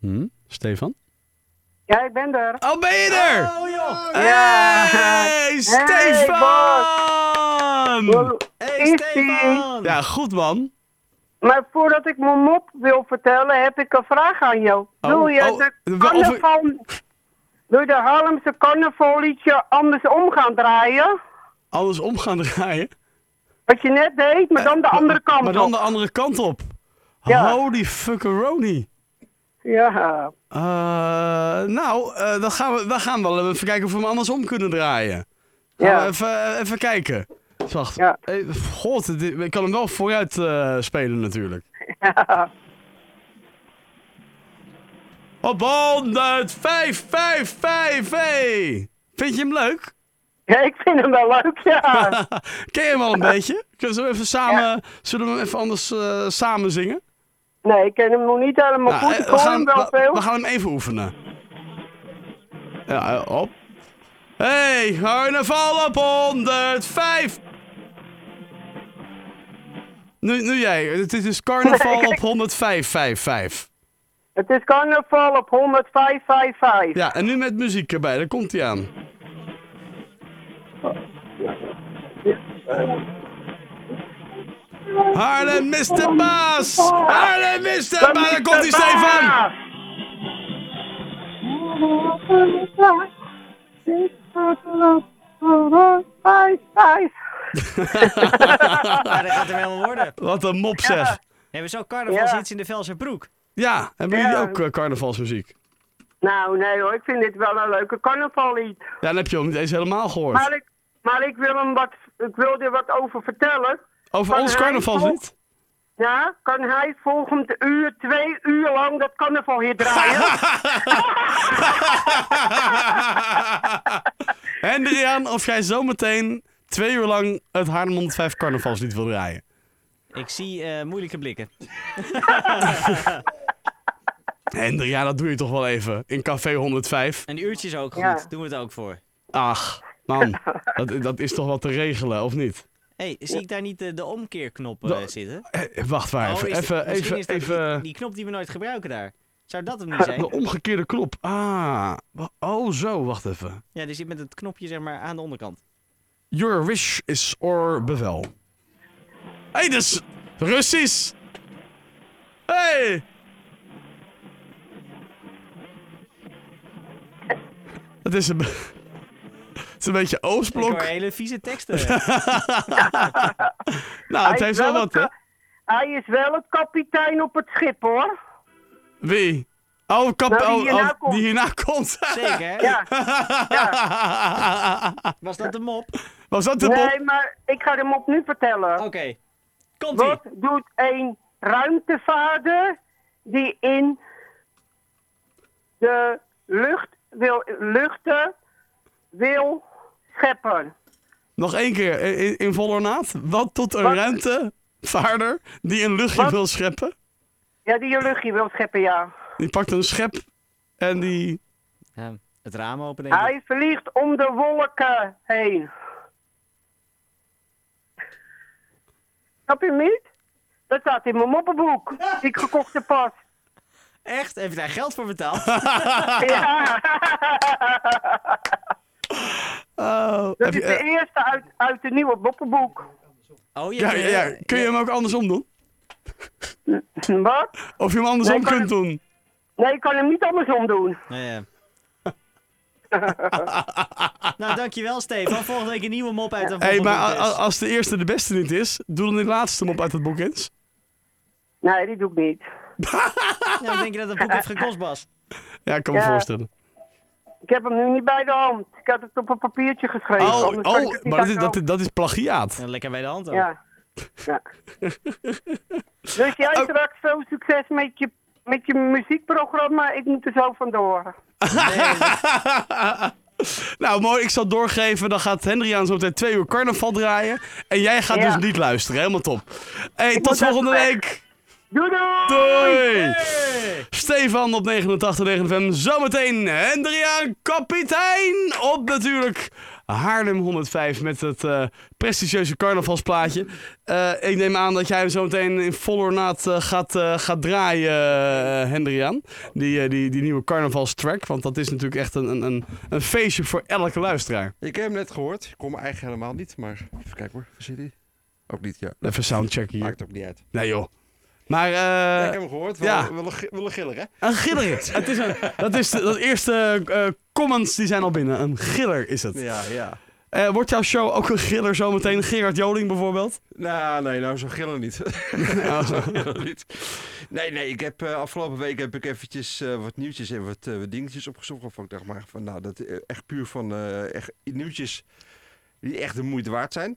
Hm? Stefan? Ja, ik ben er. Oh, ben je er? joh! Ja. Hey, Stefan! Hoe Hey, is die? Stefan! Ja, goed man. Maar voordat ik mijn mop wil vertellen, heb ik een vraag aan jou. Oh, Doe je oh, de wa- of- carnaval... Doe je de Harlemse carnavalliedje andersom gaan draaien? Alles om gaan draaien. Wat je net deed, maar dan de andere kant Eh, Maar dan op. de andere kant op. Ja. Holy fuckeroni. Ja. Eh, nou, eh, dan, gaan we, dan gaan we wel even kijken of we hem andersom kunnen draaien. Gaan Ja. we even, eh, even kijken. Wacht. Ja. Eh, God, dit- ik kan hem wel vooruit eh, spelen natuurlijk. Op 105, 5, 5, hey. Vind je hem leuk? ja, ik vind hem wel leuk, ja. Nou, Ken je hem al een beetje? Kunnen we hem even samen, zullen we hem even anders eh, samen zingen? Nee, ik ken hem nog niet helemaal Nou, goed. eh, Ik we, hoor gaan, hem wel we- veel. we gaan hem even oefenen. Ja, eh, op. Hey, carnaval op 105. Nu, nu jij, het is dus carnaval op 105, 5, 5. Het is carnaval op 10555. Ja, en nu met muziek erbij, daar komt hij aan. Harlem Mr. Baas! Harlem Mr. Baas, daar komt hij, Stefan! Ja, dat gaat hem helemaal worden. Wat een mop zeg. We hebben zo'n carnaval Ja. iets in de Velse broek. Ja, hebben jullie Ja. ook eh, carnavalsmuziek? Nou, nee hoor, ik vind dit wel een leuke carnavallied. Ja, dan heb je hem niet eens helemaal gehoord. Maar ik, maar ik, wil, hem wat, ik wil er wat over vertellen. Over van ons hij carnavalslied? Ja, kan hij volgend uur, twee uur lang dat carnaval hier draaien? Hendriaan, of jij zometeen twee uur lang het Haarlem 105 carnavalslied wil draaien? Ik zie eh, moeilijke blikken. Hendriaan, dat doe je toch wel even. In Café 105. En uurtjes ook goed. Ja. Doen we het ook voor. Ach, man. Dat, dat is toch wel te regelen, of niet? hey, zie ik daar niet de, de omkeerknop eh, Da- zitten? Eh, wacht maar Oh, even. is- even, misschien even, is dat even eh, Die, die knop die we nooit gebruiken daar. Zou dat hem niet zijn? de omgekeerde knop. Ah. wa- Oh, zo. Wacht even. Ja, die zit met het knopje zeg maar aan de onderkant. Your wish is or bevel. Hé, hey, dat is Russisch. Hé. Hey. Het is een, be- het is een beetje Ik hoor Oostblok. hele vieze teksten. Nou, het Hij heeft is wel wel wat, hè? hij is wel het kapitein op het schip hoor. Wie? Oh, kap, Nou, die oh, hierna oh, komt. die hierna komt. Zeker, hè? Ja. Was dat de mop? Oké. Was dat de mop? Nee, maar ik ga hem opnieuw vertellen. Komt ie. Wat doet een ruimtevaarder die in de lucht wil luchten wil scheppen? Nog één keer, eh, in, in vol ornaat. Wat tot een Wat? ruimtevaarder die een luchtje Wat? wil scheppen. Ja, die een luchtje wil scheppen, ja. Die pakt een schep en die... Ja, het raam open denk ik. Hij vliegt om de wolken heen. Snap je hem niet? Dat staat in mijn moppenboek, die ik gekocht heb pas. Echt? Heb je daar geld voor betaald? Ja, Oh, dat heb je- is de eh, eerste uit, uit het nieuwe moppenboek. Oh, je ja, ja, ja. eh, Kun je hem ook andersom doen? Wat? Of je hem andersom Nee, kan kunt doen? Nee, ik kan hem niet andersom doen. Nou ja. nou, dankjewel Stefan. Volgende week een nieuwe mop uit een Hé, hey, maar a- volgende a- als de eerste de beste niet is, doe dan de laatste mop uit het boek eens. Nee, die doe ik niet. contest. Nou, denk je dat het boek heeft gekost, Bas? Ja, ik kan me Ja. voorstellen. Ik heb hem nu niet bij de hand. Ik had het op een papiertje geschreven. Oh, anders kan ik oh het niet maar dat is, uit de dat, is- dat is plagiaat. Nou, Lekker bij de hand ook. hand. Ja. ja. dus jij Oh. straks veel succes met je, met je muziekprogramma. Ik moet er zo vandoor. Nou, mooi. Ik zal doorgeven. Dan gaat Hendriaan zo meteen twee uur carnaval draaien. En jij gaat Ja. dus niet luisteren. Helemaal top. hey, tot moet even volgende weg. week. Doei Doei. Hey! Stefan op 89.9 FM. Zometeen Hendriaan kapitein op natuurlijk Haarlem 105 met het eh, prestigieuze carnavalsplaatje. Eh, ik neem aan dat jij hem zo meteen in vol ornaat eh, gaat, eh, gaat draaien, eh, Hendriaan. Die, eh, die, die nieuwe carnavalstrack. Want dat is natuurlijk echt een, een- een, een feestje voor elke luisteraar. Ik heb hem net gehoord. Ik kon me eigenlijk helemaal niet, maar even kijken hoor. Waar zit hij? Ook niet, ja. Even soundcheck hier. Maakt ook niet uit. Nee joh. Maar eh, Ja, ik heb hem gehoord. Wel, ja. wel, een gi- wel een giller, hè? een giller. het is een, dat is de, dat eerste eh, comments die zijn al binnen. Een giller is het. Ja, ja. Eh, wordt jouw show ook een giller zometeen? Gerard Joling bijvoorbeeld? Nou, nee, nou, zo gillen niet. Nou, Oh, zo. Gillen niet. Nee, nee, ik heb eh, afgelopen week heb ik eventjes eh, wat nieuwtjes en wat eh, wat dingetjes opgezocht. Waarvan ik dacht, maar van, nou, dat eh, echt puur van eh, echt nieuwtjes die echt de moeite waard zijn.